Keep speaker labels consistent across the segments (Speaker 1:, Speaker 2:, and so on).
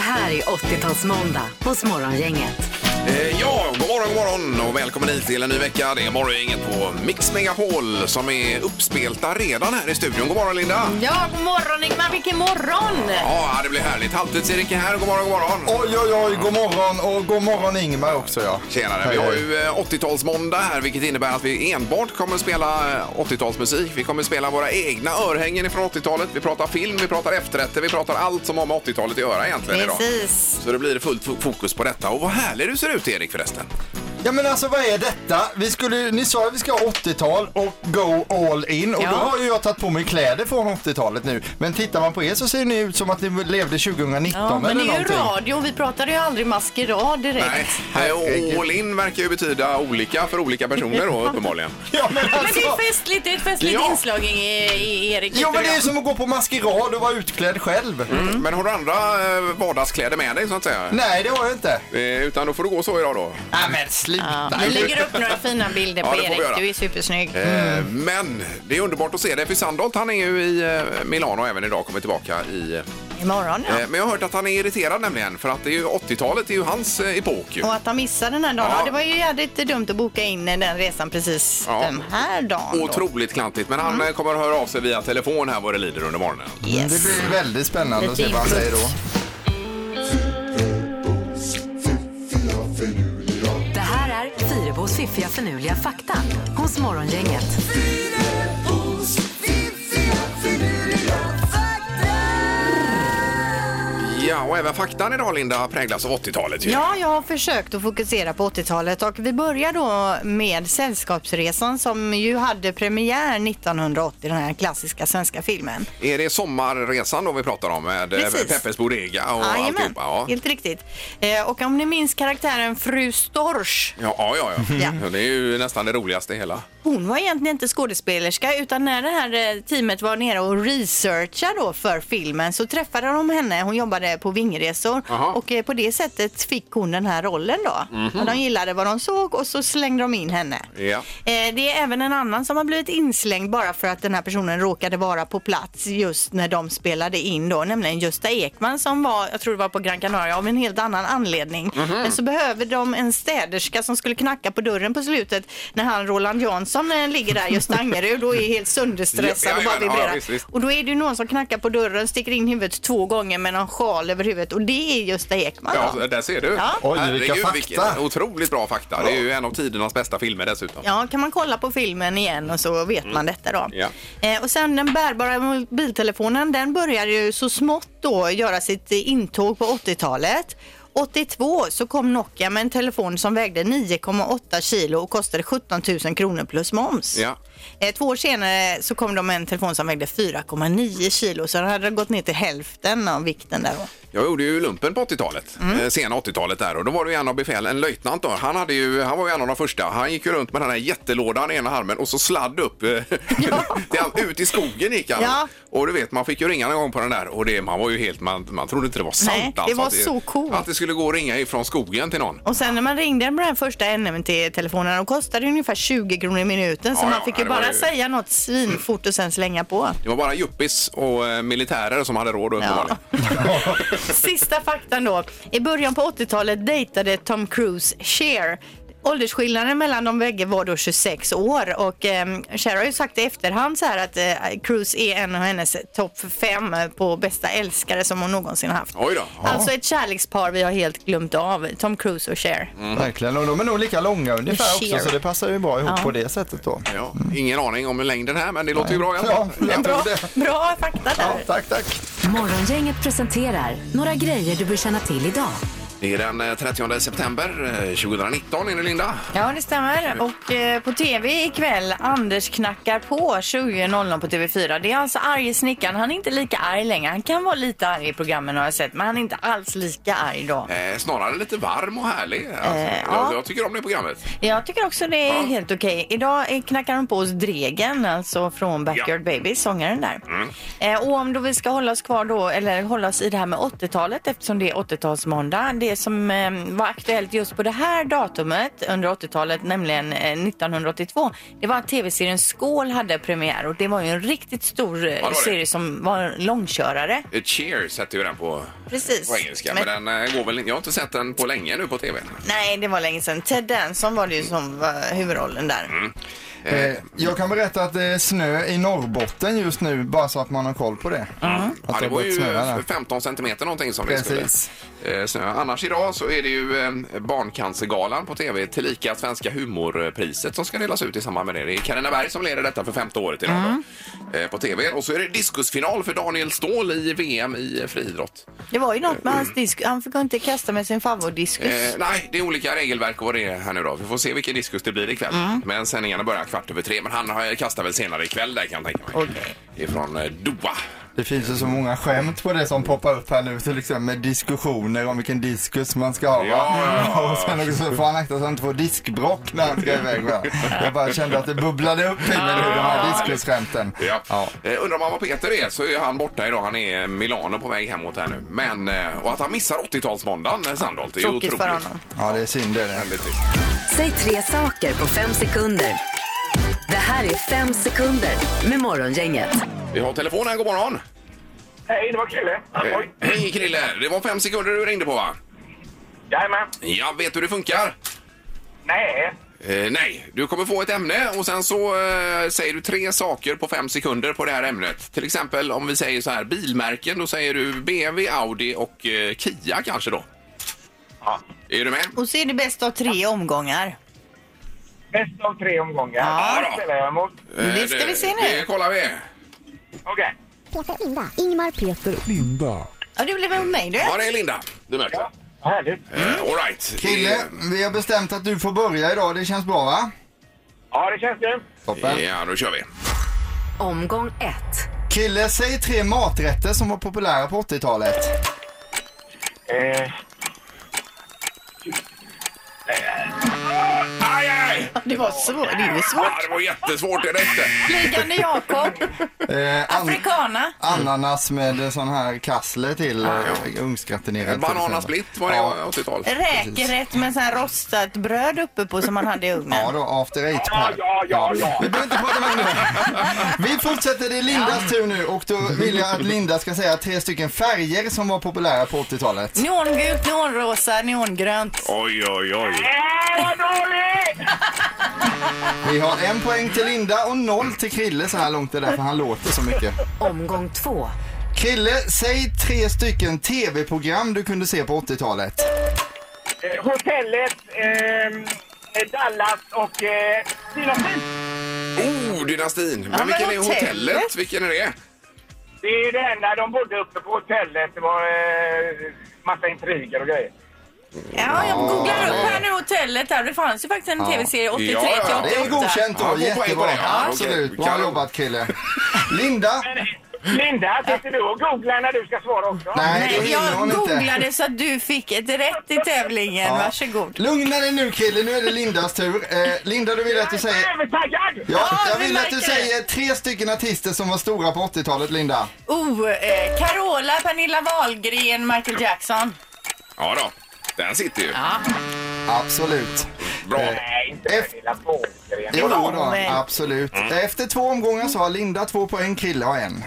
Speaker 1: härlig 80-talsmåndag hos Morgongänget.
Speaker 2: Eh, Ja, god morgon, god morgon och välkommen hit till en ny vecka. Det är Morgongänget på Mix Megapol som är uppspelta redan här i studion. God morgon Linda!
Speaker 3: Ja, god morgon Ingmar, vilken morgon!
Speaker 2: Ja, det blir härligt. Halvtids-Erik är här. God morgon, god morgon!
Speaker 4: Oj, oj, oj, god morgon och god morgon Ingmar också ja.
Speaker 2: Tjenare! Vi har ju eh, 80-talsmåndag här vilket innebär att vi enbart kommer att spela eh, 80-talsmusik. Vi kommer att spela våra egna örhängen från 80-talet. Vi pratar film, vi pratar efterrätter, vi pratar allt som har med 80-talet att göra egentligen idag.
Speaker 3: Precis.
Speaker 2: Så det blir fullt fo- fokus på detta. Och vad härlig du ser ut Erik förresten.
Speaker 4: Ja men alltså vad är detta? Vi skulle, ju- ni sa att vi ska ha 80-tal och go all in och
Speaker 3: Ja.
Speaker 4: då har ju jag tagit på mig kläder från 80-talet nu. Men tittar man på er så ser ni ut som att ni levde 2019
Speaker 3: Ja, men det
Speaker 4: eller
Speaker 3: är ju
Speaker 4: någonting.
Speaker 3: radio, vi pratade ju aldrig maskerad direkt.
Speaker 2: Nej,
Speaker 4: Herregud.
Speaker 2: eh, all in verkar ju betyda olika för olika personer då uppenbarligen.
Speaker 4: Ja men
Speaker 3: Men det
Speaker 4: alltså.
Speaker 3: är festligt, det är ett festligt
Speaker 2: Ja.
Speaker 3: inslag i, i Erik.
Speaker 4: Jo men det är ju
Speaker 3: tycker
Speaker 4: som att gå på maskerad och vara utklädd själv.
Speaker 3: Mm.
Speaker 2: Men har du andra eh, vardagskläder med dig så att säga?
Speaker 4: Nej det har jag inte.
Speaker 2: Eh, Utan då får du gå så idag då.
Speaker 4: Nej men
Speaker 3: jag.
Speaker 4: sluta.
Speaker 3: ja, vi lägger upp några fina bilder
Speaker 2: Ja,
Speaker 3: på
Speaker 2: det får vi göra.
Speaker 3: Erik, du är supersnygg. Mm.
Speaker 2: Eh, Men det är underbart att se dig för Sandholt han är ju i eh, Milano även idag, kommer tillbaka i... eh,
Speaker 3: Imorgon ja.
Speaker 2: Men jag har hört att han är irriterad nämligen för att det är ju 80-talet är ju hans eh, epok ju.
Speaker 3: Och att han missar den här dagen,
Speaker 2: Ja.
Speaker 3: ja. det var ju jävligt dumt att boka in den resan precis
Speaker 2: Ja.
Speaker 3: den här dagen. då.
Speaker 2: Otroligt klantigt, men han eh, kommer att höra av sig via telefon här vad det lider under morgonen.
Speaker 3: Yes.
Speaker 4: Det blir väldigt spännande att se
Speaker 3: Lite
Speaker 4: vad han säger
Speaker 3: input.
Speaker 4: då.
Speaker 1: Det här är Fyrebos fiffiga förnuliga fakta hos Morgongänget.
Speaker 2: Ja, och även faktan idag Linda präglas av 80-talet ju.
Speaker 3: Ja, jag har försökt att fokusera på 80-talet och vi börjar då med Sällskapsresan som ju hade premiär 1980, den här klassiska svenska filmen.
Speaker 2: Är det sommarresan då vi pratar om med eh,
Speaker 3: Precis.
Speaker 2: Peppes Bodega och
Speaker 3: Jajamän,
Speaker 2: alltihopa? Ja.
Speaker 3: helt riktigt. Eh, och om ni minns karaktären Fru Storch,
Speaker 2: Ja, ja, ja. ja.
Speaker 3: Ja.
Speaker 2: Det är ju nästan det roligaste i hela.
Speaker 3: hon var egentligen inte skådespelerska utan när det här eh, teamet var nere och researchade då för filmen så träffade de henne, hon jobbade på Vingresor
Speaker 2: Jaha. Mhm.
Speaker 3: och eh, på det sättet fick hon den här rollen då. Och De gillade vad de såg och så slängde de in henne.
Speaker 2: Ja.
Speaker 3: Eh, Det är även en annan som har blivit inslängd bara för att den här personen råkade vara på plats just när de spelade in då, nämligen Gösta Ekman som var, jag tror det var på Gran Canaria av en helt annan anledning.
Speaker 2: Mhm.
Speaker 3: Men så behöver de en städerska som skulle knacka på dörren på slutet när han Roland Jansson eh, ligger där, Gösta Angerud, och är helt sönderstressad
Speaker 2: Ja,
Speaker 3: och bara
Speaker 2: jajamän, ja,
Speaker 3: vibrerar.
Speaker 2: visst, visst.
Speaker 3: Och då är det ju någon som knackar på dörren, sticker in huvudet två gånger med någon sjal över huvudet och det är Gösta Ekman. då.
Speaker 2: Ja, alltså, där ser du.
Speaker 3: Ja.
Speaker 4: Oj, vilka fakta.
Speaker 2: vilken otroligt bra fakta. Det är ju en av tidernas bästa filmer dessutom.
Speaker 3: Ja, kan man kolla på filmen igen och så vet man detta då.
Speaker 2: Mm. Ja.
Speaker 3: Eh, och sen den bärbara mobiltelefonen, den börjar ju så smått då göra sitt eh, intåg på 80-talet. 82 så kom Nokia med en telefon som vägde 9,8 kilo och kostade 17 000 kronor plus moms.
Speaker 2: Ja.
Speaker 3: Eh, två år senare så kom de med en telefon som vägde 4,9 kilo så den hade gått ner till hälften av vikten där då.
Speaker 2: Jag gjorde ju lumpen på 80-talet,
Speaker 3: Mm.
Speaker 2: eh, sena 80-talet där och då var det ju en av befälen, en löjtnant då. Han, hade ju, han var ju en av de första. Han gick ju runt med den här jättelådan i ena armen och så sladd upp. eh, till all- ut i skogen gick han.
Speaker 3: Ja.
Speaker 2: Och du vet, man fick ju ringa någon gång på den där och det, man var ju helt, man, man trodde inte det var sant. alltså,
Speaker 3: Nej, det var
Speaker 2: att
Speaker 3: så coolt.
Speaker 2: Att det skulle gå att ringa ifrån skogen till någon.
Speaker 3: Och sen när man ringde med den här första NMT-telefonen, de kostade ungefär 20 kronor i minuten så
Speaker 2: Ja,
Speaker 3: man
Speaker 2: ja,
Speaker 3: fick
Speaker 2: ja,
Speaker 3: ju
Speaker 2: det var
Speaker 3: bara
Speaker 2: ju-
Speaker 3: säga något svinfort och sen slänga på.
Speaker 2: Det var bara juppis och eh, militärer som hade råd uppenbarligen.
Speaker 3: Sista faktan då. I början på 80-talet dejtade Tom Cruise Cher. Åldersskillnaden mellan de bägge var då 26 år och ehm, Cher har ju sagt i efterhand så här att eh, Cruise är en av hennes topp fem på bästa älskare som hon någonsin haft.
Speaker 2: Oj då. Ja.
Speaker 3: Alltså ett kärlekspar vi har helt glömt av, Tom Cruise och Cher.
Speaker 2: Mm.
Speaker 4: Verkligen och de är nog lika långa ungefär
Speaker 3: Sheer.
Speaker 4: också så det passar ju bra ihop på det sättet då.
Speaker 2: Ja, ingen aning om längden här, men det låter ju bra i alla
Speaker 4: Ja,
Speaker 2: fall.
Speaker 4: jag tror
Speaker 3: Bra,
Speaker 4: det.
Speaker 3: bra fakta
Speaker 4: Ja,
Speaker 3: där.
Speaker 4: tack, tack.
Speaker 1: Morgongänget presenterar några grejer du bör känna till idag.
Speaker 2: Det är den eh, 30 september eh, 2019, är det Linda?
Speaker 3: Ja, det stämmer. Och eh, på tv ikväll, Anders knackar på 20.00 på TV4. Det är alltså arge snickaren. Han är inte lika arg längre. Han kan vara lite arg i programmen har jag sett, men han är inte alls lika arg då.
Speaker 2: Eh, snarare lite varm och härlig. Alltså,
Speaker 3: Eh,
Speaker 2: jag,
Speaker 3: ja.
Speaker 2: jag tycker om det programmet.
Speaker 3: Jag tycker också det är
Speaker 2: Ja.
Speaker 3: helt okej. Idag eh, knackar de på oss Dregen, alltså från Backyard Babies, sångaren där.
Speaker 2: Mm.
Speaker 3: Eh, och om då vi ska hålla oss kvar då, eller hålla oss i det här med 80-talet eftersom det är 80-talsmåndag. Det det som eh, var aktuellt just på det här datumet under 80-talet, nämligen eh, 1982. Det var att tv-serien Skål hade premiär och det var ju en riktigt stor eh,
Speaker 2: det var det.
Speaker 3: serie som var en långkörare.
Speaker 2: Eh, Cheers hette ju den på,
Speaker 3: Precis.
Speaker 2: på engelska, men, den eh, går väl in, jag har inte sett den på länge nu på tv.
Speaker 3: Nej, det var länge sedan. Ted Danson var det ju som var huvudrollen där.
Speaker 2: Mm.
Speaker 4: Eh, jag kan berätta att det är snö i Norrbotten just nu, bara så att man har koll på det. Att
Speaker 2: Mm. Ja, det
Speaker 4: har
Speaker 2: var
Speaker 4: börjat
Speaker 2: ju
Speaker 4: snöa där.
Speaker 2: 15 centimeter någonting som
Speaker 4: Precis.
Speaker 2: det skulle eh, snöa. Annars idag så är det ju eh, Barncancergalan på tv tillika Svenska humorpriset som ska delas ut i samband med det. Det är Carina Berg som leder detta för femte året idag då, eh, på tv. Och så är det diskusfinal för Daniel Ståhl i VM i friidrott.
Speaker 3: Det var ju något med hans disk. Han fick inte kasta med sin favoritdiskus.
Speaker 2: Eh, nej, det är olika regelverk och vad det är här nu då. Vi får se vilken diskus det blir ikväll.
Speaker 3: Mm.
Speaker 2: Men sändningarna börjar kvart över tre. Men han har- kastar väl senare ikväll där kan jag tänka mig.
Speaker 3: Okej.
Speaker 2: Ifrån eh, Doha.
Speaker 4: Det finns ju så många skämt på det som poppar upp här nu, till exempel med diskussioner om vilken diskus man ska ha. va?
Speaker 2: Ja, ja, ja.
Speaker 4: Och sen också får han akta så att han inte får diskbrock när han ska iväg. Va? Jag bara kände att det bubblade upp i mig nu, de här diskusskämten.
Speaker 2: Ah. Ja.
Speaker 4: Ja.
Speaker 2: Eh, undrar man vad Peter är så är han borta idag. Han är i Milano på väg hemåt här nu. Men, eh, och att han missar 80-talsmåndagen eh, Sandholt, det är ju
Speaker 3: Tråkigt för
Speaker 2: otroligt.
Speaker 3: honom.
Speaker 4: ja, det är synd det. är det.
Speaker 2: Väldigt trist.
Speaker 1: Säg tre saker på fem sekunder. Det här är fem sekunder med Morgongänget.
Speaker 2: Vi har telefon här, god morgon.
Speaker 5: Hej, det var Krille.
Speaker 2: Eh,
Speaker 5: Oj.
Speaker 2: Hej Krille, det var fem sekunder du ringde på va?
Speaker 5: Jajamän.
Speaker 2: Ja, vet du hur det funkar?
Speaker 5: Nej.
Speaker 2: Eh, nej, du kommer få ett ämne och sen så eh, säger du tre saker på fem sekunder på det här ämnet. Till exempel om vi säger så här bilmärken, då säger du BMW, Audi och eh, Kia kanske då.
Speaker 5: Ja.
Speaker 2: Är du med?
Speaker 3: Och så är det bäst av tre omgångar.
Speaker 5: Bäst av tre omgångar.
Speaker 3: Ja.
Speaker 5: Det spelar jag emot.
Speaker 2: Eh,
Speaker 3: Det ska vi se nu.
Speaker 2: Det kollar vi.
Speaker 5: Okej.
Speaker 6: Peter, Linda, Ingmar, Peter.
Speaker 3: Ja, det blev väl mig du.
Speaker 2: Ja, det är Linda. Du märker.
Speaker 5: Ja. Vad härligt.
Speaker 3: Mm.
Speaker 2: Eh, all right.
Speaker 4: Kille, vi har bestämt att du får börja idag. Det känns bra va?
Speaker 5: Ja, det känns grymt.
Speaker 4: Toppen.
Speaker 2: Eh, Ja, då kör vi.
Speaker 1: Omgång ett.
Speaker 4: Kille, säg tre maträtter som var populära på 80-talet.
Speaker 5: Eh,
Speaker 2: Aj, aj!
Speaker 3: Det var svårt. Det är ju svårt.
Speaker 2: Ah, det var jättesvårt direkt.
Speaker 3: Flygande Jakob,
Speaker 4: Eh, an-
Speaker 3: afrikana.
Speaker 4: ananas med sån här kassler till eh, ugnsgratinerat. till exempel.
Speaker 2: Bananasplitt var det
Speaker 4: Ja.
Speaker 2: 80-tal.
Speaker 3: Räkrätt med sån här rostat bröd uppe på som man hade i ugnen.
Speaker 4: Ja då, after eight
Speaker 5: ja,
Speaker 4: pack.
Speaker 5: ja, ja, ja.
Speaker 4: Vi behöver inte prata mer om det. Vi fortsätter, det är Lindas tur nu och då vill jag att Linda ska säga tre stycken färger som var populära på 80-talet.
Speaker 3: Neongult, neonrosa, neongrönt.
Speaker 2: Oj, oj, oj.
Speaker 5: Äh, vad dåligt!
Speaker 4: Vi har en poäng till Linda och noll till Krille så här långt, det är därför han låter så mycket.
Speaker 1: Omgång två.
Speaker 4: Krille, säg tre stycken tv-program du kunde se på 80-talet.
Speaker 5: Eh, hotellet, ehm, eh, Dallas och... Eh, Sinopin.
Speaker 2: Oh, dynastin. Men
Speaker 3: men
Speaker 2: vilken är
Speaker 3: hotellet?
Speaker 2: hotellet? Vilken är det?
Speaker 5: det är ju det enda de bodde uppe på hotellet. Det var eh, massa intriger och grejer.
Speaker 3: Ja, jag googlar upp här nu hotellet här. Det fanns ju faktiskt en tv-serie 83
Speaker 2: Ja, ja,
Speaker 4: Det är
Speaker 3: till 88.
Speaker 4: godkänt
Speaker 2: Ja,
Speaker 4: då,
Speaker 2: får poäng på
Speaker 4: jättebra.
Speaker 2: det, ja.
Speaker 4: Absolut,
Speaker 2: Okej,
Speaker 4: bra
Speaker 2: kanon.
Speaker 4: jobbat Krille. Linda,
Speaker 5: Men, eh, Linda, tänkte du och googla när du ska svara också?
Speaker 4: Nej. det
Speaker 3: Nej,
Speaker 4: hinner hon
Speaker 3: jag
Speaker 4: inte.
Speaker 3: googlade så att du fick ett rätt i tävlingen. Varsågod.
Speaker 4: lugna dig nu Krille, nu är det Lindas tur. Eh, Linda, du vill att du
Speaker 5: Jag är
Speaker 4: säger...
Speaker 5: övertaggad!
Speaker 4: Ja,
Speaker 3: Ja,
Speaker 4: jag
Speaker 3: vi
Speaker 4: vill att du
Speaker 3: märker det.
Speaker 4: säger tre stycken artister som var stora på 80-talet, Linda.
Speaker 3: Oh, eh, Carola, Pernilla Wahlgren, Michael Jackson.
Speaker 2: Ja då, den sitter ju.
Speaker 4: Absolut.
Speaker 2: Bra.
Speaker 5: Nej, inte
Speaker 4: F-
Speaker 5: Pernilla Wahlgren.
Speaker 4: Jo
Speaker 3: var
Speaker 4: då,
Speaker 2: Mm.
Speaker 3: väl.
Speaker 4: absolut. Efter två omgångar så har Linda två poäng, Krille har en.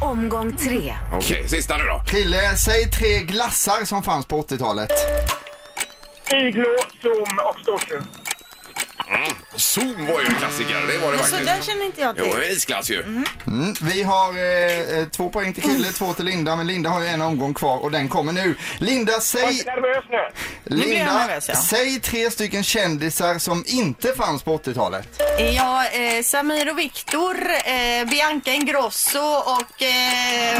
Speaker 1: Omgång tre.
Speaker 2: Okej, sista nu då.
Speaker 4: Krille, säg tre glassar som fanns på 80-talet.
Speaker 5: Iglo, Zoom och Storsjö.
Speaker 2: Mm. Zoom var ju en klassiker. Det var det
Speaker 3: Så den
Speaker 2: faktiskt.
Speaker 3: känner inte jag
Speaker 2: Jo,
Speaker 3: till.
Speaker 2: en isglass ju.
Speaker 4: Alltså, Mm, Vi har eh, eh, två poäng till Krille, två till Linda, men Linda har ju en omgång kvar och den kommer nu. Linda,
Speaker 5: Jag är
Speaker 4: säg,
Speaker 5: inte nervös nu.
Speaker 3: eh, blir jag
Speaker 4: Linda,
Speaker 3: nervös, ja.
Speaker 4: säg tre stycken kändisar som inte fanns på 80-talet.
Speaker 3: Ja, eh, Samir och Viktor, eh, Bianca Ingrosso och... Eh,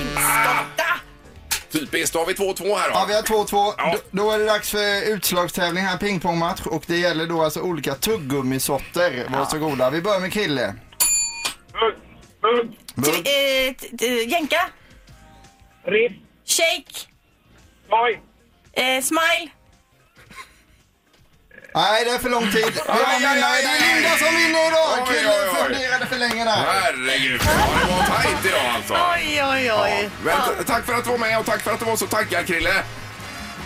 Speaker 3: Inskotta!
Speaker 2: Typiskt. Då har vi 2-2 här då.
Speaker 4: Ja, vi har 2-2.
Speaker 2: Ja.
Speaker 4: Då, då är det dags för utslagstävling här, pingpongmatch. Och det gäller då alltså olika tuggummisorter. Varsågoda. Vi börjar med Krille.
Speaker 5: Mugg, mugg,
Speaker 3: T- eh, t- t- Jänka,
Speaker 5: riff,
Speaker 3: Shake,
Speaker 5: skoj.
Speaker 3: eh, Smile.
Speaker 4: Nej, det är för lång tid. Ja,
Speaker 2: Aj,
Speaker 4: men
Speaker 2: aj,
Speaker 4: nej, det
Speaker 2: aj, aj.
Speaker 4: är Linda som vinner
Speaker 2: Oj,
Speaker 4: idag!
Speaker 2: oj,
Speaker 4: Krille
Speaker 2: oj.
Speaker 4: funderade för länge där.
Speaker 2: Herregud. Ja, det var tajt idag alltså.
Speaker 3: Oj, oj, oj.
Speaker 2: Men t- tack för att du var med och tack för att du var så taggad Krille.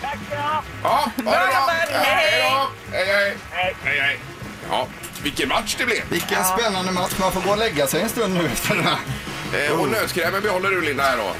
Speaker 5: Tack ska ni ha!
Speaker 2: Ja, ha det bra!
Speaker 3: Robert, hej!
Speaker 2: då! Hej, hej!
Speaker 5: Hej.
Speaker 2: Hej, hej! Ja, vilken match det blev!
Speaker 4: Vilken spännande match. Man får gå och lägga sig en stund nu efter den här.
Speaker 2: Eh,
Speaker 4: Oh.
Speaker 2: och nötkrämen behåller du Linda här då.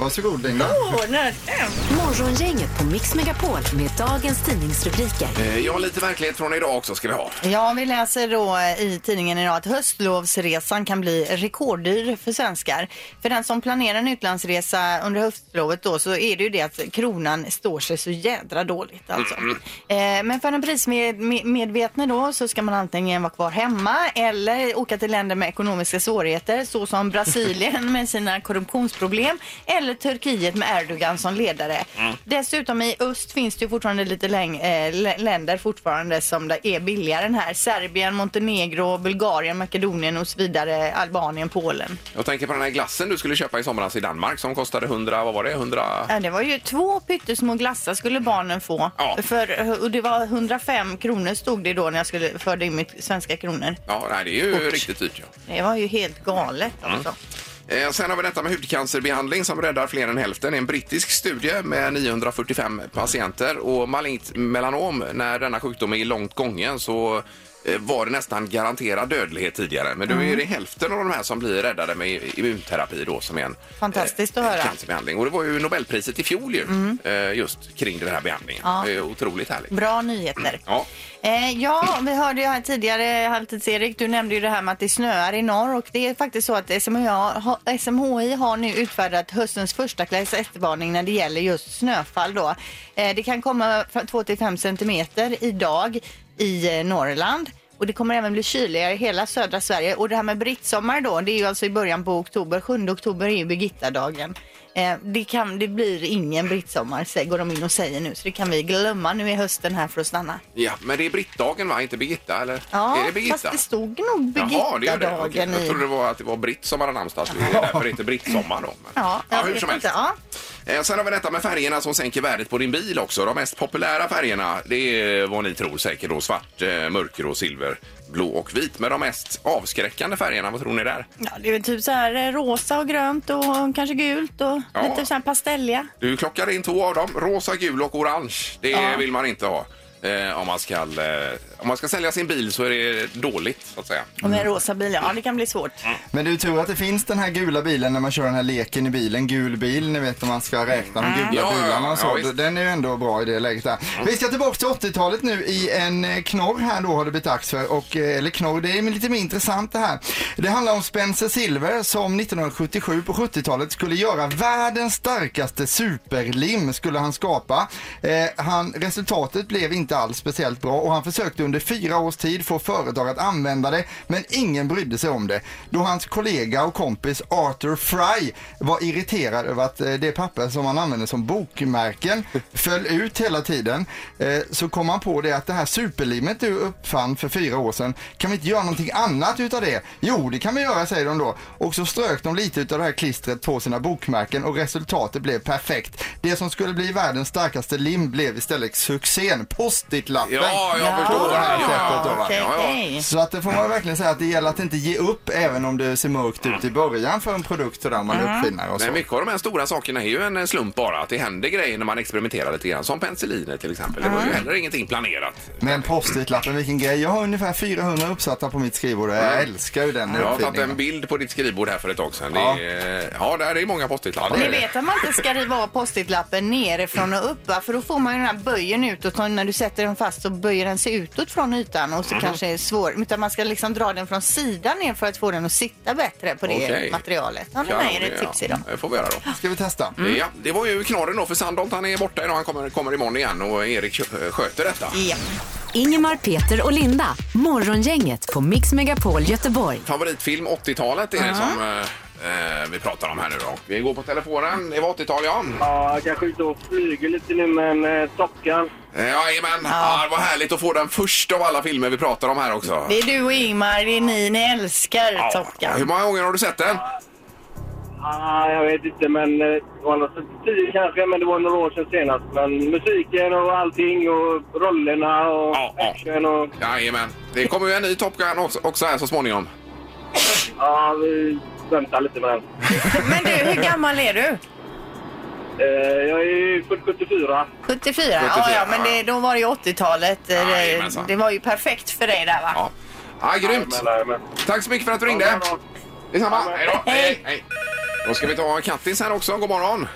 Speaker 4: Varsågod Linda.
Speaker 3: Åh, nötkräm.
Speaker 1: Morgongänget på Mix Megapol med dagens tidningsrubriker.
Speaker 2: Eh, ja, lite verklighet från idag också ska vi ha.
Speaker 3: Ja, vi läser då eh, i tidningen idag att höstlovsresan kan bli rekorddyr för svenskar. För den som planerar en utlandsresa under höstlovet då så är det ju det att kronan står sig så jädra dåligt alltså. Eh, men för den prismedvetne då så ska man antingen vara kvar hemma eller åka till länder med ekonomiska svårigheter såsom Brasilien med sina korruptionsproblem eller Turkiet med Erdogan som ledare. Dessutom i öst finns det ju fortfarande lite läng- eh, lä- länder fortfarande som det är billigare än här. Serbien, Montenegro, Bulgarien, Makedonien och så vidare. Albanien, Polen.
Speaker 2: Jag tänker på den här glassen du skulle köpa i somras i Danmark som kostade 100, vad var det? 100...
Speaker 3: Ja, det var ju två pyttesmå glassar skulle barnen få.
Speaker 2: Ja.
Speaker 3: För, och det var 105 kronor stod det då när jag skulle förde in mitt svenska kronor.
Speaker 2: Ja, nej, det är ju
Speaker 3: Fort.
Speaker 2: riktigt dyrt. Ja.
Speaker 3: Det var ju helt galet alltså.
Speaker 2: Eh, Sen har vi detta med hudcancerbehandling som räddar fler än hälften. Det är en brittisk studie med 945 patienter och malignt melanom, när denna sjukdom är långt gången så eh, var det nästan garanterad dödlighet tidigare. Men nu är
Speaker 3: Mm.
Speaker 2: det hälften av de här som blir räddade med immunterapi då som är en
Speaker 3: Fantastiskt att
Speaker 2: eh,
Speaker 3: höra. Mm.
Speaker 2: cancerbehandling. Och det var ju Nobelpriset i fjol ju, eh, just kring den här behandlingen.
Speaker 3: Ja.
Speaker 2: Det är otroligt härligt.
Speaker 3: Bra nyheter.
Speaker 2: Ja.
Speaker 3: Eh, ja, vi hörde ju här tidigare, Halvtids-Erik, du nämnde ju det här med att det snöar i norr och det är faktiskt så att SMHI har, SMHI har nu utfärdat höstens första klass 1-varning när det gäller just snöfall då. Eh, det kan komma 2-5 centimeter idag i eh, Norrland. Och det kommer även bli kyligare i hela södra Sverige. Och det här med brittsommar då, det är ju alltså i början på oktober. 7 oktober är ju Birgitta-dagen. Eh, det, kan, det blir ingen brittsommar, sä- går de in och säger nu. Så det kan vi glömma. Nu är hösten här för att stanna.
Speaker 2: ja, men det är brittdagen va? Inte Birgitta? Eller?
Speaker 3: Ja,
Speaker 2: är det Birgitta?
Speaker 3: fast det stod nog
Speaker 2: Jaha, det gör det. Okej,
Speaker 3: Birgitta-dagen
Speaker 2: Jag trodde det
Speaker 3: i...
Speaker 2: var att det var Britt som hade namnsdag. så Det är därför inte Britt-sommar då. Men,
Speaker 3: Ja, jag
Speaker 2: hur
Speaker 3: vet
Speaker 2: som helst.
Speaker 3: inte. Ja.
Speaker 2: Eh, Sen har vi detta med färgerna som sänker värdet på din bil också. De mest populära färgerna, det är vad ni tror säkert då. Svart, eh, mörkgrå, silver, blå och vit. Men de mest avskräckande färgerna, vad tror ni där?
Speaker 3: ja, det är väl typ så här eh, rosa och grönt och kanske gult och
Speaker 2: Ja.
Speaker 3: lite så här pastelliga.
Speaker 2: Du klockar in två av dem. Rosa, gul och orange. Det
Speaker 3: Ja.
Speaker 2: vill man inte ha. Eh, om, man ska, eh, om man ska sälja sin bil så är det dåligt, så att säga.
Speaker 3: Och med rosa bil, ja det kan bli svårt.
Speaker 2: Mm.
Speaker 4: Men du tror att det finns den här gula bilen när man kör den här leken i bilen, gul bil, ni vet om man ska räkna de gula
Speaker 2: Mm. Ja, ja,
Speaker 4: bilarna
Speaker 2: ja,
Speaker 4: och så.
Speaker 2: visst.
Speaker 4: den är ju ändå bra i det läget där. Vi ska tillbaka till 80-talet nu i en eh, knorr här då har det blivit dags för. Och, eh, eller knorr, det är lite mer intressant det här. Det handlar om Spencer Silver som 1977 på 70-talet skulle göra världens starkaste superlim skulle han skapa. Eh, han, resultatet blev inte alls speciellt bra och han försökte under fyra års tid få företag att använda det men ingen brydde sig om det. Då hans kollega och kompis Arthur Fry var irriterad över att eh, det papper som han använde som bokmärken föll ut hela tiden eh, så kom han på det att det här superlimmet du uppfann för fyra år sedan kan vi inte göra någonting annat utav det? Jo, det kan vi göra säger de då och så strök de lite utav det här klistret på sina bokmärken och resultatet blev perfekt. Det som skulle bli världens starkaste lim blev istället succén, post-it-lappen.
Speaker 2: Ja, jag
Speaker 3: Ja.
Speaker 2: förstår. det här. Ja,
Speaker 4: Säkert då,
Speaker 2: ja,
Speaker 4: va?
Speaker 2: ja, ja.
Speaker 3: Okej.
Speaker 4: Så att det får man verkligen säga att det gäller att inte ge upp även om det ser mörkt ut i början för en produkt sådär man uppfinner och så.
Speaker 2: Men mycket av de här stora sakerna är ju en eh, slump bara. Att det händer grejer när man experimenterar lite grann. Som penicilliner till exempel. Det var ju heller ingenting planerat.
Speaker 4: Men post-it-lappen, vilken grej. Jag har ungefär 400 uppsatta på mitt skrivbord och jag älskar ju den
Speaker 2: Jag har tagit en
Speaker 4: uppfinningen.
Speaker 2: bild på ditt skrivbord här för ett tag sedan.
Speaker 4: Ja.
Speaker 2: Det är, ja, där är många post-it-lappar.
Speaker 3: Ni vet att man inte ska riva av post-it-lappen nerifrån och upp va? För då får man ju den här böjen utåt. Och när du sätter den fast så böjer den sig utåt från ytan och så
Speaker 2: Mm.
Speaker 3: kanske är det svår. Utan man ska liksom dra den från sidan ner för att få den att sitta bättre på det
Speaker 2: Okej.
Speaker 3: materialet. Har ni
Speaker 2: Kanon,
Speaker 3: med er ett tips idag?
Speaker 2: Ja, det får vi göra då.
Speaker 4: Ska vi testa?
Speaker 2: Ja, det var ju knorren då för Sandholt. Han är borta idag. Han kommer, kommer imorgon igen och Erik kö- eh, sköter detta.
Speaker 3: Ja.
Speaker 1: Ingemar, Peter och Linda. Morgongänget på Mix Megapol Göteborg.
Speaker 2: Favoritfilm 80-talet är det som eh, eh, vi pratar om här nu då. Vi går på telefonen. Det var 80-tal ja.
Speaker 7: Ja, jag kanske ute och flyger lite nu, men eh, dockan.
Speaker 2: Eh, Jajamän. Ja. Ah, vad härligt att få den först av alla filmer vi pratar om här också.
Speaker 3: Det är du och Ingmar, det är ni, ni älskar ja.
Speaker 2: Hur många gånger har du sett den?
Speaker 7: Ah, jag vet inte, men eh, det var något sånt tio kanske, men det var några år sedan senast. Men musiken och allting och rollerna och
Speaker 2: Ja, ja.
Speaker 7: action och...
Speaker 2: Jajamän. Det kommer ju en ny Top Gun också, också här så småningom.
Speaker 7: Ja, vi väntar lite med den.
Speaker 3: Men du, hur gammal är du?
Speaker 7: Eh, jag är född 74.
Speaker 3: 74, ja, ja, men det, då var det ju 80-talet. Eh,
Speaker 2: Jajamensan.
Speaker 3: Det var ju perfekt för dig där va?
Speaker 2: Ja. Ja, grymt!
Speaker 7: Jajamän,
Speaker 2: Tack så mycket för att du ringde.
Speaker 7: jajamän.
Speaker 2: Detsamma. Hej då. Hej. Hej. Då ska vi ta Kattis här också. God morgon.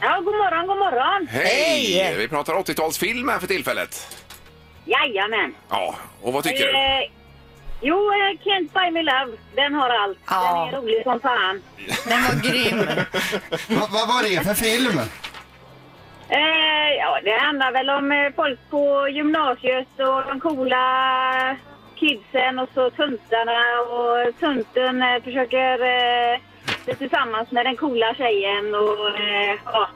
Speaker 8: Ja, god morgon, god morgon.
Speaker 2: Hej!
Speaker 3: Hej.
Speaker 2: Vi pratar 80-talsfilm här för tillfället.
Speaker 8: Jajamän.
Speaker 2: Ja, och vad tycker du?
Speaker 8: Eh, jo, eh, Can't buy me love. Den har allt.
Speaker 3: Ja.
Speaker 8: Den är rolig som fan.
Speaker 3: Den var grym.
Speaker 4: Vad vad var det för film?
Speaker 8: Eh, ja, det handlar väl om eh, folk på gymnasiet och de coola kidsen och så tuntarna och tunten eh, försöker eh, bli tillsammans med den coola tjejen och eh, ja,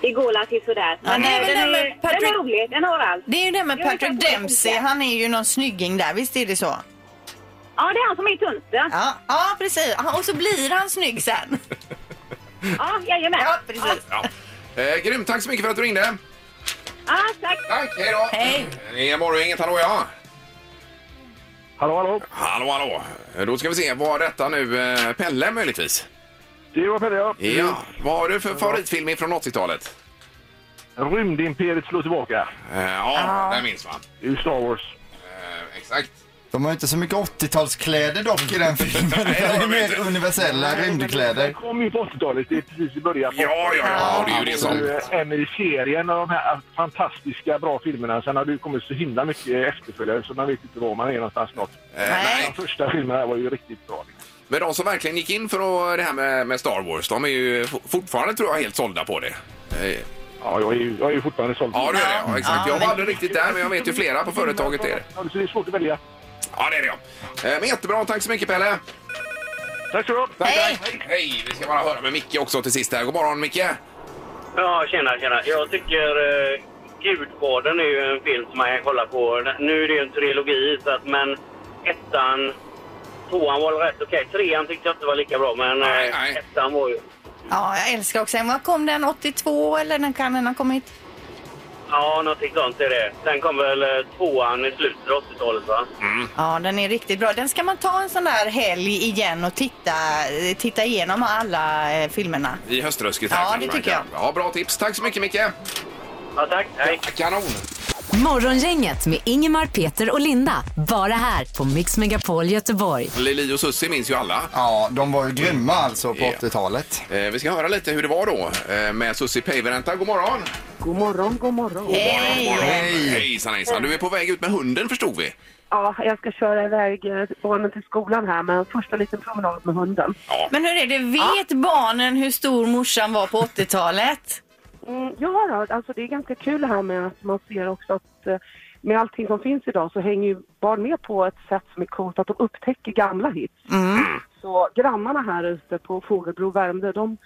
Speaker 8: det går la till sådär. eh,
Speaker 3: Ja, det är väl den
Speaker 8: den,
Speaker 3: med
Speaker 8: är,
Speaker 3: Patrick-
Speaker 8: den är rolig, den har allt.
Speaker 3: Det är ju det med
Speaker 8: Jo, det
Speaker 3: Patrick
Speaker 8: kanske det
Speaker 3: Dempsey.
Speaker 8: funkar.
Speaker 3: Han är ju någon snygging där, visst är det så?
Speaker 8: Ja, det är han som är tunten.
Speaker 3: Ja, ja precis. Ja, Och så blir han snygg sen.
Speaker 8: Ja, jajamän.
Speaker 3: Ja, precis.
Speaker 2: Ja. Eh, grymt, tack så mycket för att du ringde.
Speaker 8: Ja, ah, tack.
Speaker 2: Tack, hej då.
Speaker 3: Hej.
Speaker 2: Det är morgongänget, hallå ja.
Speaker 7: Hallå, hallå.
Speaker 2: Hallå, hallå. Då ska vi se, var detta nu eh, Pelle möjligtvis?
Speaker 7: Det var Pelle, ja.
Speaker 5: Mm.
Speaker 2: Ja. Vad har du för favoritfilm från 80-talet?
Speaker 7: Rymdimperiet slår tillbaka.
Speaker 2: Eh, ja, den minns man.
Speaker 7: Det är ju Star Wars.
Speaker 2: Eh, exakt.
Speaker 4: De har ju inte så mycket 80-talskläder dock i den filmen. Det är mer universella
Speaker 7: Den
Speaker 4: rymdkläder.
Speaker 7: kom ju på 80-talet. Det är precis i början. på-
Speaker 2: Ja, ja, ja, det är ju det
Speaker 7: Alltså,
Speaker 2: som...
Speaker 7: eh, En i serien av de här fantastiska bra filmerna. Sen har det ju kommit så himla mycket efterföljare så man vet inte var man är någonstans snart.
Speaker 2: Eh,
Speaker 3: Nej.
Speaker 7: De första filmerna var ju riktigt bra. Liksom.
Speaker 2: Men de som verkligen gick in för att, det här med, med Star Wars, de är ju for- fortfarande tror jag helt sålda på det. Eh,
Speaker 7: Ja, jag är ju, jag är ju fortfarande såld.
Speaker 2: Ja, det är det. Ja, exakt.
Speaker 3: Ja,
Speaker 2: Jag var
Speaker 3: men-
Speaker 2: aldrig riktigt där, men jag vet ju flera på företaget är det.
Speaker 7: Ja, Så det är svårt att välja.
Speaker 2: Ja, det är det ja. Eh, Men jättebra, tack så mycket Pelle.
Speaker 7: Tack så du
Speaker 2: Tack,
Speaker 3: Hej.
Speaker 2: tack. Hej! Vi ska bara höra med Micke också till sist här. God morgon Micke!
Speaker 9: Ja, tjena, tjena. Jag tycker eh, Gudfadern är ju en film som man kan kolla på. Nu är det ju en trilogi, så att, men ettan, tvåan var väl rätt okej. Trean tyckte jag inte var lika bra, men eh,
Speaker 2: Nej, nej.
Speaker 9: ettan var ju...
Speaker 3: Ja, jag älskar också den. Vad kom den? 82 eller den kan den ha kommit?
Speaker 9: Ja, någonting sånt är det. Sen kom väl eh, tvåan i slutet av 80-talet, va?
Speaker 2: Mm.
Speaker 3: Ja, den är riktigt bra. Den ska man ta en sån där helg igen och titta, eh, titta igenom alla eh, filmerna.
Speaker 2: I höströsket
Speaker 3: Ja,
Speaker 2: kanske
Speaker 3: det
Speaker 2: man
Speaker 3: tycker
Speaker 2: kan. Ja, bra tips. Tack så mycket Micke!
Speaker 9: Ja, tack. Hej.
Speaker 2: Kanon!
Speaker 1: Morgongänget med Ingemar, Peter och Linda. Bara här på Mix Megapol Göteborg.
Speaker 2: Lili och Susie minns ju alla.
Speaker 4: Ja, de var ju grymma alltså på
Speaker 2: Ja.
Speaker 4: 80-talet.
Speaker 2: Eh, Vi ska höra lite hur det var då eh, med Susie Päivärinta. God morgon!
Speaker 10: God morgon, god morgon.
Speaker 3: Hej!
Speaker 2: Hej! Hejsan hejsan! Du är på väg ut med hunden förstod vi.
Speaker 10: Ja, jag ska köra iväg eh, barnen till skolan här med en första liten promenad med hunden.
Speaker 3: Men hur är det, vet barnen hur stor morsan var på 80-talet?
Speaker 10: Mm, ja, då, alltså det är ganska kul här med att man ser också att eh, med allting som finns idag så hänger ju barn med på ett sätt som är coolt, att de upptäcker gamla hits. Så grannarna här ute på Fågelbro, Värmdö, de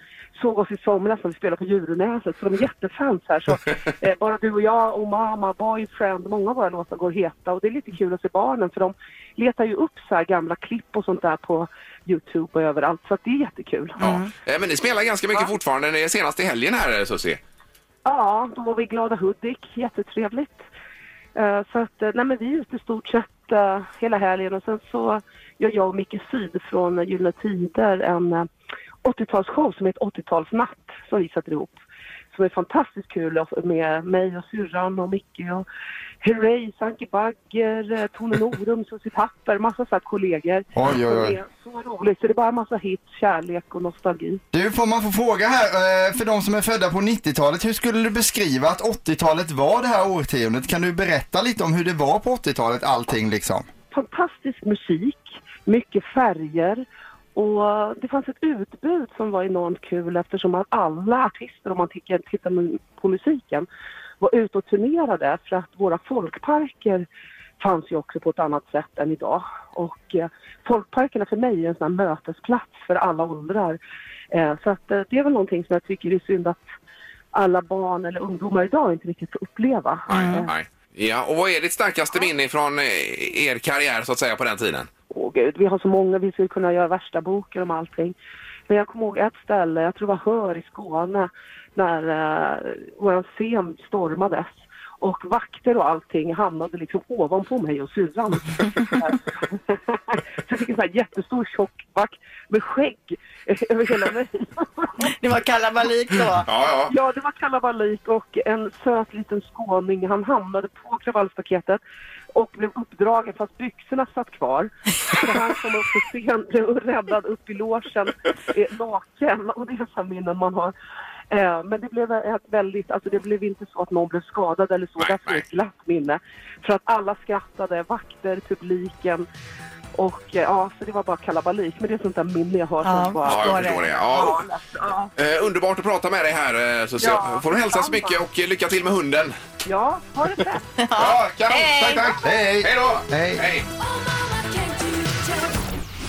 Speaker 10: såg oss i somras när vi spelade på Djurnäset, så de är jättefans här. Så, eh, bara du och jag och mamma, boyfriend, många av våra låtar går heta och det är lite kul att se barnen för de letar ju upp så här gamla klipp och sånt där på Youtube och överallt, så att det är jättekul.
Speaker 2: Eh, Men ni spelar ganska mycket fortfarande. Det är senast i helgen här eh, Susie.
Speaker 10: Ja, då var vi i Glada Hudik. Jättetrevligt. Eh, Så att, eh, nej men vi är ute i stort sett eh, hela helgen och sen så gör jag och Micke Syd från eh, Gyllene Tider en eh, 80-talsshow som heter 80-talsnatt som vi sätter ihop. Som är fantastiskt kul och- med mig och syrran och Micke och Herrey, Sanke Bagger, eh, Tone Norum, Susie Tapper, massa så här kollegor.
Speaker 4: Oj, oj,
Speaker 10: Det
Speaker 4: oj.
Speaker 10: är så roligt så det är bara massa hits, kärlek och nostalgi.
Speaker 4: Du, får man få fråga här, eh, för de som är födda på 90-talet, hur skulle du beskriva att 80-talet var det här årtiondet? Kan du berätta lite om hur det var på 80-talet, allting liksom?
Speaker 10: fantastisk musik, mycket färger och det fanns ett utbud som var enormt kul eftersom att alla artister, om man tittar, tittar mu- på musiken, var ute och turnerade för att våra folkparker fanns ju också på ett annat sätt än idag. Och eh, folkparkerna för mig är en sån här mötesplats för alla åldrar. Eh, så att, eh, det är väl någonting som jag tycker är synd att alla barn eller ungdomar idag inte riktigt får uppleva.
Speaker 2: Nej, nej. Mm. Ja, och vad är ditt starkaste minne från eh, er karriär så att säga på den tiden?
Speaker 10: Åh gud, vi har så många, vi skulle kunna göra värsta boken om allting. Men jag kommer ihåg ett ställe, jag tror det var Hör i Skåne, när uh, vår scen eh, stormades. och vakter och allting hamnade liksom ovanpå mig och syrran. så jag fick en sån här jättestor tjock vakt med skägg över hela mig.
Speaker 3: Det var kalabalik då? Ja,
Speaker 2: ja.
Speaker 10: ja, det var kalabalik och en söt liten skåning. Han hamnade på kravallstaketet och blev uppdragen fast byxorna satt kvar. Så han kom upp på scen och räddad upp i logen eh, naken och det är så här minnen man har. Eh, Men det blev ett väldigt, alltså det blev inte så att någon blev skadad eller så, därför är det ett glatt minne. För att alla skrattade, vakter, publiken och eh, ja, så det var bara kalabalik. Men det är sånt där minne jag har
Speaker 2: Ja,
Speaker 10: som bara...
Speaker 2: jag förstår det. Ja. Eh, underbart att prata med dig här, eh, Susie.
Speaker 10: Ja,
Speaker 2: Får du hälsa så
Speaker 10: detsamma.
Speaker 2: mycket och eh, lycka till med hunden.
Speaker 10: Ja, ha det fett!
Speaker 2: Ja, kanon.
Speaker 1: Hej.
Speaker 2: Tack, tack. Hej. Hej då.
Speaker 4: Hej.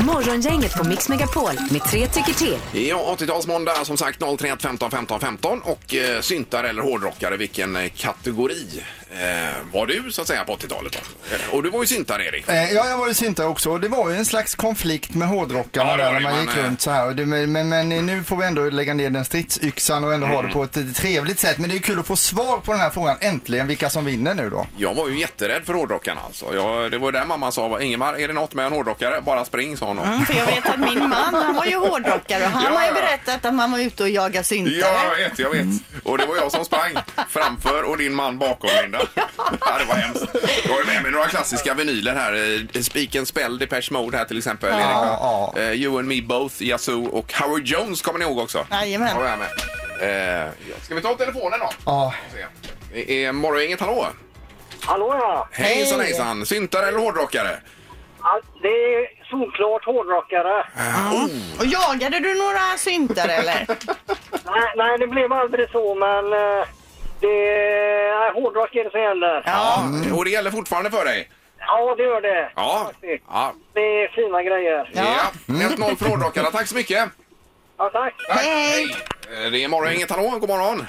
Speaker 1: Morgongänget på Mix Megapol med tre tycker till.
Speaker 2: Ja, 80-talsmåndag som sagt 031 15 15 15 och eh, syntare eller hårdrockare, vilken eh, kategori eh, var du så att säga på 80-talet? då? Eh, Och du var ju syntare Erik.
Speaker 4: Eh, Ja, jag var ju syntare också och det var ju en slags konflikt med hårdrockarna
Speaker 2: Ja, det var
Speaker 4: där när
Speaker 2: det,
Speaker 4: man
Speaker 2: men,
Speaker 4: gick
Speaker 2: eh,
Speaker 4: runt så här. Och det- Men, men, men nu får vi ändå lägga ner den stridsyxan och ändå ha
Speaker 2: Mm.
Speaker 4: det på ett trevligt sätt. Men det är ju kul att få svar på den här frågan äntligen, vilka som vinner nu då.
Speaker 2: Jag var ju jätterädd för hårdrockarna alltså. Jag, det var ju där mamma sa, Ingemar är det något med en hårdrockare? Bara spring sa hon.
Speaker 3: För jag vet att min man, han var ju hårdrockare och han
Speaker 2: Ja,
Speaker 3: har ju
Speaker 2: ja.
Speaker 3: berättat att man var ute och jagade syntare.
Speaker 2: Ja, jag vet, jag vet. Och det var jag som sprang framför och din man bakom, Linda. Ja, det var hemskt. Jag har ju med mig några klassiska vinyler här. Eh, Spiken Spell, Depeche Mode här till exempel.
Speaker 3: Ja.
Speaker 2: Erik. Eh, You and Me Both, Yazoo och Howard Jones kommer ni ihåg också?
Speaker 3: Jajamän.
Speaker 2: Har jag med. Eh, ja. Ska vi ta telefonen då?
Speaker 4: Ja.
Speaker 2: Det är Morgongänget, hallå?
Speaker 11: Hallå ja!
Speaker 2: Hejsan hejsan! Syntare eller hårdrockare?
Speaker 11: Ja, Det är solklart hårdrockare.
Speaker 3: Och jagade du några syntare eller?
Speaker 11: nej, nej, det blev aldrig så men eh, det är hårdrock är det som gäller.
Speaker 3: Ja.
Speaker 2: Och det gäller fortfarande för dig?
Speaker 11: Ja, det gör det.
Speaker 2: Ja. ja.
Speaker 11: Det är fina grejer.
Speaker 2: ja. 1-0 för hårdrockarna. Tack så mycket!
Speaker 11: Ja, tack.
Speaker 3: Hej!
Speaker 2: Eh, Det är Morgongänget, hallå? God morgon!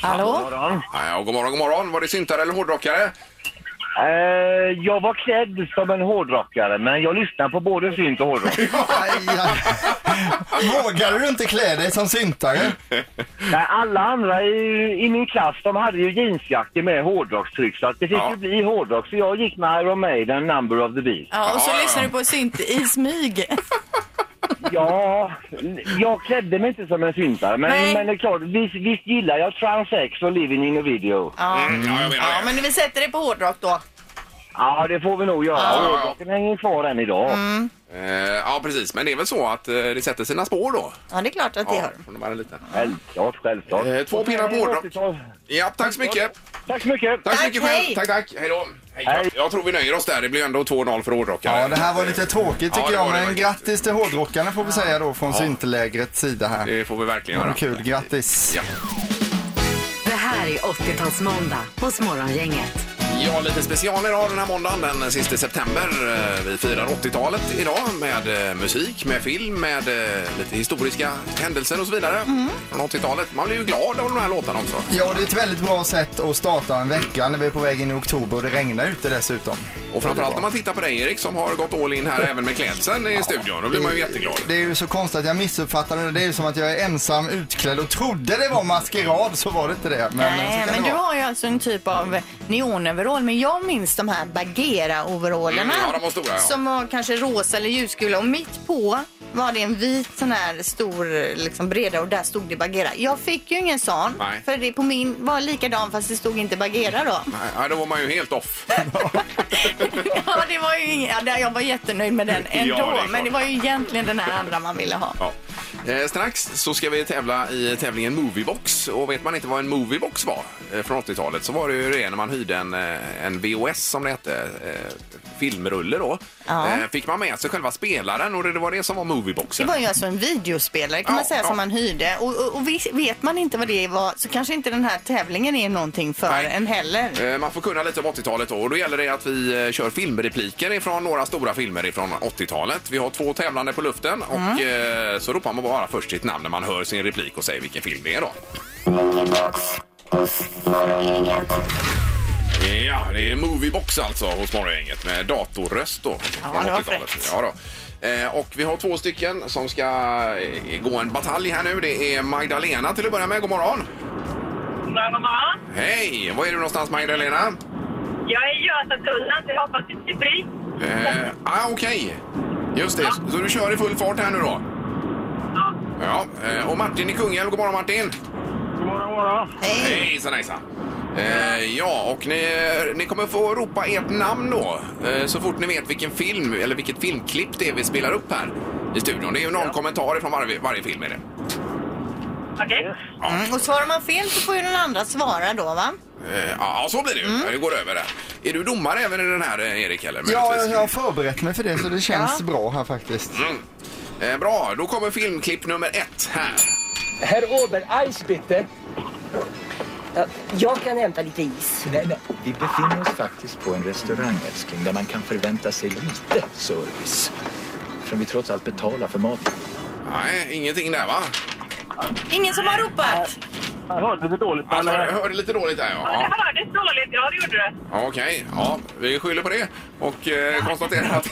Speaker 3: Hallå?
Speaker 2: Ja, ja, god morgon, god morgon. Var det syntare eller hårdrockare?
Speaker 12: Eh, jag var klädd som en hårdrockare, men jag lyssnar på både synt och hårdrock.
Speaker 4: Vågade du inte klä dig som syntare?
Speaker 12: Nej, alla andra i, i min klass de hade ju jeansjackor med hårdrockstryck, så att det fick ju bli hårdrock. Så jag gick med Iron Maiden, Number of the Beast.
Speaker 3: Ja, och så lyssnar du på synt i smyg.
Speaker 12: Ja, jag klädde mig inte som en syntare, men,
Speaker 3: Nej.
Speaker 12: men det är klart, visst, visst gillar jag Transex och Living in a video.
Speaker 3: Ja.
Speaker 12: Mm,
Speaker 2: ja, jag menar
Speaker 3: Ja, men vi sätter det på hårdrock då.
Speaker 12: Ja, det får vi nog göra.
Speaker 2: Ja.
Speaker 12: Hårdrocken hänger kvar än idag.
Speaker 2: Eh, ja, precis. Men det är väl så att eh, det sätter sina spår då?
Speaker 3: Ja, det är klart att det gör.
Speaker 2: Från de här lite.
Speaker 12: Självklart, självklart.
Speaker 2: Eh, två pinnar på hårdrock. Ja, tack så mycket.
Speaker 12: Tack så mycket.
Speaker 2: Tack så
Speaker 12: Tack,
Speaker 2: mycket själv.
Speaker 12: hej.
Speaker 2: Tack, tack. Hej då. Hej. Jag tror vi nöjer oss där. Det blir ändå 2-0 för hårdrockare.
Speaker 4: Ja, det här var lite tråkigt
Speaker 2: Ja,
Speaker 4: tycker
Speaker 2: det var
Speaker 4: jag,
Speaker 2: det
Speaker 4: men
Speaker 2: faktiskt.
Speaker 4: grattis till hårdrockarna får vi säga då från syntlägrets sida här.
Speaker 2: Det får vi verkligen
Speaker 4: Ja,
Speaker 2: göra.
Speaker 4: kul, grattis.
Speaker 1: Det här är 80-talsmåndag hos Morgongänget.
Speaker 2: Ja, lite special idag den här måndagen den sista september. Eh, Vi firar 80-talet idag med eh, musik, med film, med eh, lite historiska händelser och så vidare. Från 80-talet. Man blir ju glad av de här låtarna också.
Speaker 4: Mm. Ja, det är ett väldigt bra sätt att starta en vecka när vi är på väg in i oktober och det regnar ute dessutom.
Speaker 2: Och framförallt när man tittar på dig Erik som har gått all in här även med klädseln i studion. Då blir man ju jätteglad.
Speaker 4: Det är ju så konstigt att jag missuppfattade det. Det är ju som att jag är ensam utklädd och trodde det var maskerad så var det inte det. Men, så
Speaker 3: Nej,
Speaker 4: kan
Speaker 3: men
Speaker 4: det
Speaker 3: du
Speaker 4: vara.
Speaker 3: har ju alltså en typ av neonoverall. Men jag minns de här Bagheera-overallerna.
Speaker 2: Mm, ja, de var stora, ja.
Speaker 3: Som var kanske rosa eller ljusgula. Och mitt på var det en vit sån här stor, liksom breda och där stod det Bagheera. Jag fick ju ingen sån.
Speaker 2: Nej.
Speaker 3: För det på min var likadan fast det stod inte Bagheera då.
Speaker 2: Nej, Ja, då var man ju helt off.
Speaker 3: ja, det var ju ingen, ja, där jag var jättenöjd med den ändå.
Speaker 2: Ja, det är klart.
Speaker 3: men det var ju egentligen den här andra man ville ha.
Speaker 2: Ja. Eh, strax så ska vi tävla i tävlingen Moviebox. Och vet man inte vad en Moviebox var eh, från 80-talet så var det ju det när man hyrde en, eh, en VOS som det hette, eh, filmrulle då.
Speaker 3: Ja.
Speaker 2: Eh, fick man med sig själva spelaren och det det var det som var
Speaker 3: Det
Speaker 2: Movieboxen.
Speaker 3: var ju alltså en videospelare kan man säga som man hyrde. Och, och, och vis- vet man inte vad det var så kanske inte den här tävlingen är någonting för en heller.
Speaker 2: Eh, Man får kunna lite om 80-talet då och då gäller det att vi eh, kör filmrepliker ifrån några stora filmer ifrån 80-talet. Vi har två tävlande på luften och
Speaker 3: Mm.
Speaker 2: eh, så ropar man bara först sitt namn när man hör sin replik och säger vilken film det är då. Ja, det är Moviebox alltså hos Morgongänget med datorröst då. från
Speaker 3: det var
Speaker 2: 80-talet. Ja, då. Eh, och vi har två stycken som ska eh, gå en batalj här nu. Det är Magdalena till att börja med. God morgon!
Speaker 13: Brandemar.
Speaker 2: Hej! Var är du någonstans Magdalena?
Speaker 13: Jag är i Götatullen, så jag hoppas det blir bry.
Speaker 2: Eh, ah, Okej, just det. Så du kör i full fart här nu då? Ja. eh, och Martin i Kungälv, god morgon Martin! God morgon, morgon. Hej! Hejsan, hejsan. Eh, ja, och ni, ni kommer få ropa ert namn då eh, så fort ni vet vilken film eller vilket filmklipp det är vi spelar upp här i studion. Det är ju någon kommentar från varje, varje film. Är det.
Speaker 13: Okej.
Speaker 3: Mm, och svarar man fel så får ju den andra svara då va?
Speaker 2: Eh, ja, så blir det ju.
Speaker 4: Mm.
Speaker 2: Ja, Det går över där. Är du domare även i den här, eh, Erik? Eller?
Speaker 4: Ja,
Speaker 2: möjligtvis?
Speaker 4: jag har förberett mig för det så det känns
Speaker 2: Ja.
Speaker 4: bra här faktiskt.
Speaker 2: Mm. Eh, bra, då kommer filmklipp nummer ett här.
Speaker 14: Herr Ober, Eis bitte. Jag kan hämta lite is.
Speaker 15: Nej, nej. Vi befinner oss faktiskt på en restaurang, älskling, där man kan förvänta sig lite service. Eftersom vi trots allt betalar för maten.
Speaker 2: Nej, ingenting där va?
Speaker 3: Ingen som har ropat?
Speaker 2: Jag hörde lite dåligt. Men... jag hörde lite dåligt där ja.
Speaker 13: Det hördes dåligt, ja det gjorde det.
Speaker 2: ja. Okej, ja, vi skyller på det och eh, konstaterar att,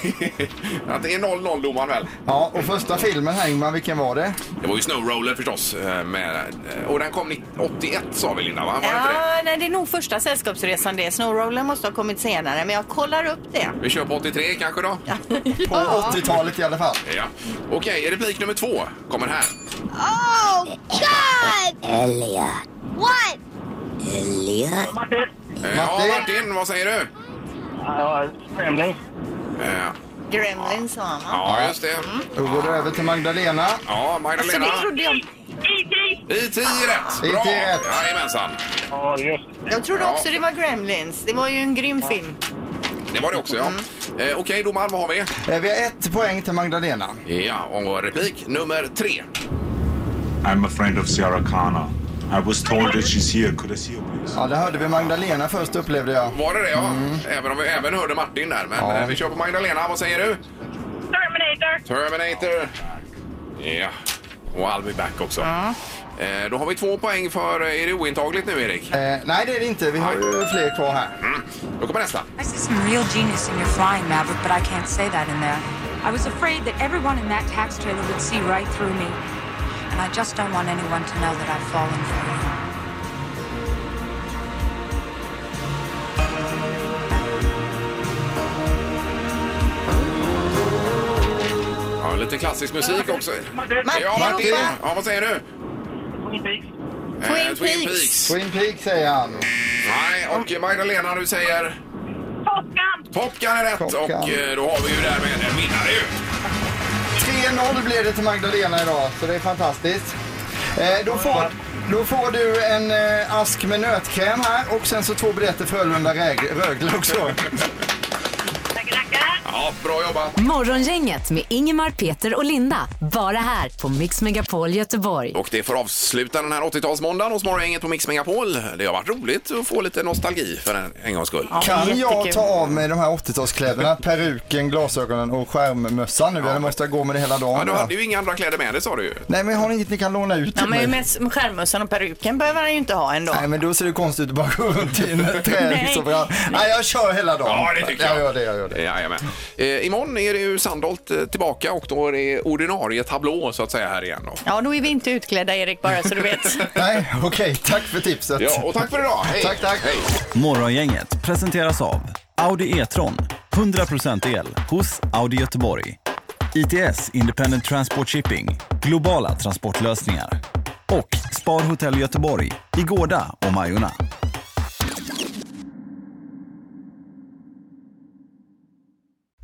Speaker 2: att det är 0-0 domaren väl.
Speaker 4: Ja, och första filmen här Ingmar, vilken var det?
Speaker 2: Det var ju Snow Roller förstås. eh, Med, och den kom 81 sa vi Linda va? Var det inte det?
Speaker 3: Ja, nej, det är nog första sällskapsresan det. Snowrollen måste ha kommit senare men jag kollar upp det.
Speaker 2: Vi kör på 83 kanske då?
Speaker 4: På 80-talet i alla fall.
Speaker 2: Ja. Okej, replik nummer två kommer här.
Speaker 16: Oh, God!
Speaker 2: Elliot.
Speaker 16: What?
Speaker 2: Elliot. Martin. Eh, Ja, Martin, vad säger du? Ja, Gremlin.
Speaker 3: Gremlins sa han va?
Speaker 2: Ja, just det.
Speaker 4: Då går det över till Magdalena.
Speaker 2: Ja,
Speaker 3: Alltså
Speaker 2: Magdalena.
Speaker 3: det trodde jag...
Speaker 2: IT är rätt! Bra!
Speaker 4: IT är rätt.
Speaker 2: Jajamensan!
Speaker 3: Jag trodde
Speaker 2: Ja.
Speaker 3: också det var Gremlins. Det var ju en grym film.
Speaker 2: Det var det också, ja.
Speaker 3: Mm.
Speaker 2: Eh, Okej, domaren, vad har vi?
Speaker 4: Eh, Vi har ett poäng till Magdalena.
Speaker 2: Ja, och replik nummer tre.
Speaker 17: I'm a friend of Sierra Kana. I was told that she's here. Could I see her, please?
Speaker 4: Ja, där hörde vi Magdalena först upplevde jag.
Speaker 2: Var det det, ja? Även om vi även hörde Martin där. Men eh, vi kör på Magdalena. Vad säger du?
Speaker 13: Terminator.
Speaker 2: Terminator. Ja. Och I'll be back också. Eh, då har vi två poäng för... eh, Är det ointagligt nu, Erik?
Speaker 4: Eh, nej, det är det inte. Vi har ju fler kvar här.
Speaker 2: Mm. Då kommer nästa.
Speaker 18: I see some real genius in your flying, Maverick, but I can't say that in there. I was afraid that everyone in that tax trailer would see right through me. And I just don't want anyone to know that I've fallen for you.
Speaker 2: Ja, lite klassisk musik också.
Speaker 4: Martin.
Speaker 2: Ja, Martin.
Speaker 4: Martin.
Speaker 2: Ja, vad säger du? Eh, Twin Peaks.
Speaker 4: Twin Peaks säger han.
Speaker 2: Nej, och Magdalena, du säger? Top Gun! Top Gun är rätt och eh, då har vi ju därmed en vinnare ju.
Speaker 4: 3-0 blev det till Magdalena idag, så det är fantastiskt. Eh, då, får, då får du en eh, ask med nötkräm här och sen så två biljetter Frölunda-Rögle också.
Speaker 2: Ja, bra jobbat.
Speaker 1: Morgongänget med Ingemar, Peter och Linda. Bara här på Mix Megapol Göteborg.
Speaker 2: Och det får avsluta den här 80-talsmåndagen hos Morgongänget på Mix Megapol. Det har varit roligt att få lite nostalgi för en, en gångs skull.
Speaker 4: Kan jag ta av mig de här 80-talskläderna, peruken, glasögonen och skärmmössan nu eller måste jag gå med det hela
Speaker 2: Ja,
Speaker 4: dagen?
Speaker 2: du
Speaker 4: va?
Speaker 2: hade ju inga andra kläder med dig sa du ju.
Speaker 4: Nej men har ni inget ni kan låna ut
Speaker 3: Ja,
Speaker 4: till mig?
Speaker 3: men med skärmmössan och peruken behöver han ju inte ha ändå.
Speaker 4: Mm. Nej men då ser det konstigt ut att bara gå runt i en träningsoverall. Nej jag kör hela dagen.
Speaker 2: Ja, det tycker jag.
Speaker 4: Jag gör det, jag gör
Speaker 2: det. Jajamän. Eh, imorgon är det ju Sandholt eh, tillbaka och då är det ordinarie tablå så att säga här igen. Då.
Speaker 3: Ja, då är vi inte utklädda Erik bara så du vet.
Speaker 4: Nej, okej. Tack för tipset.
Speaker 2: Ja, och tack för idag. Hej.
Speaker 4: Tack, tack.
Speaker 2: Hej.
Speaker 19: Morgongänget presenteras av Audi E-tron. 100% el hos Audi Göteborg. ITS Independent Transport Shipping. Globala transportlösningar. Och Spar Hotel Göteborg i Gårda och Majorna.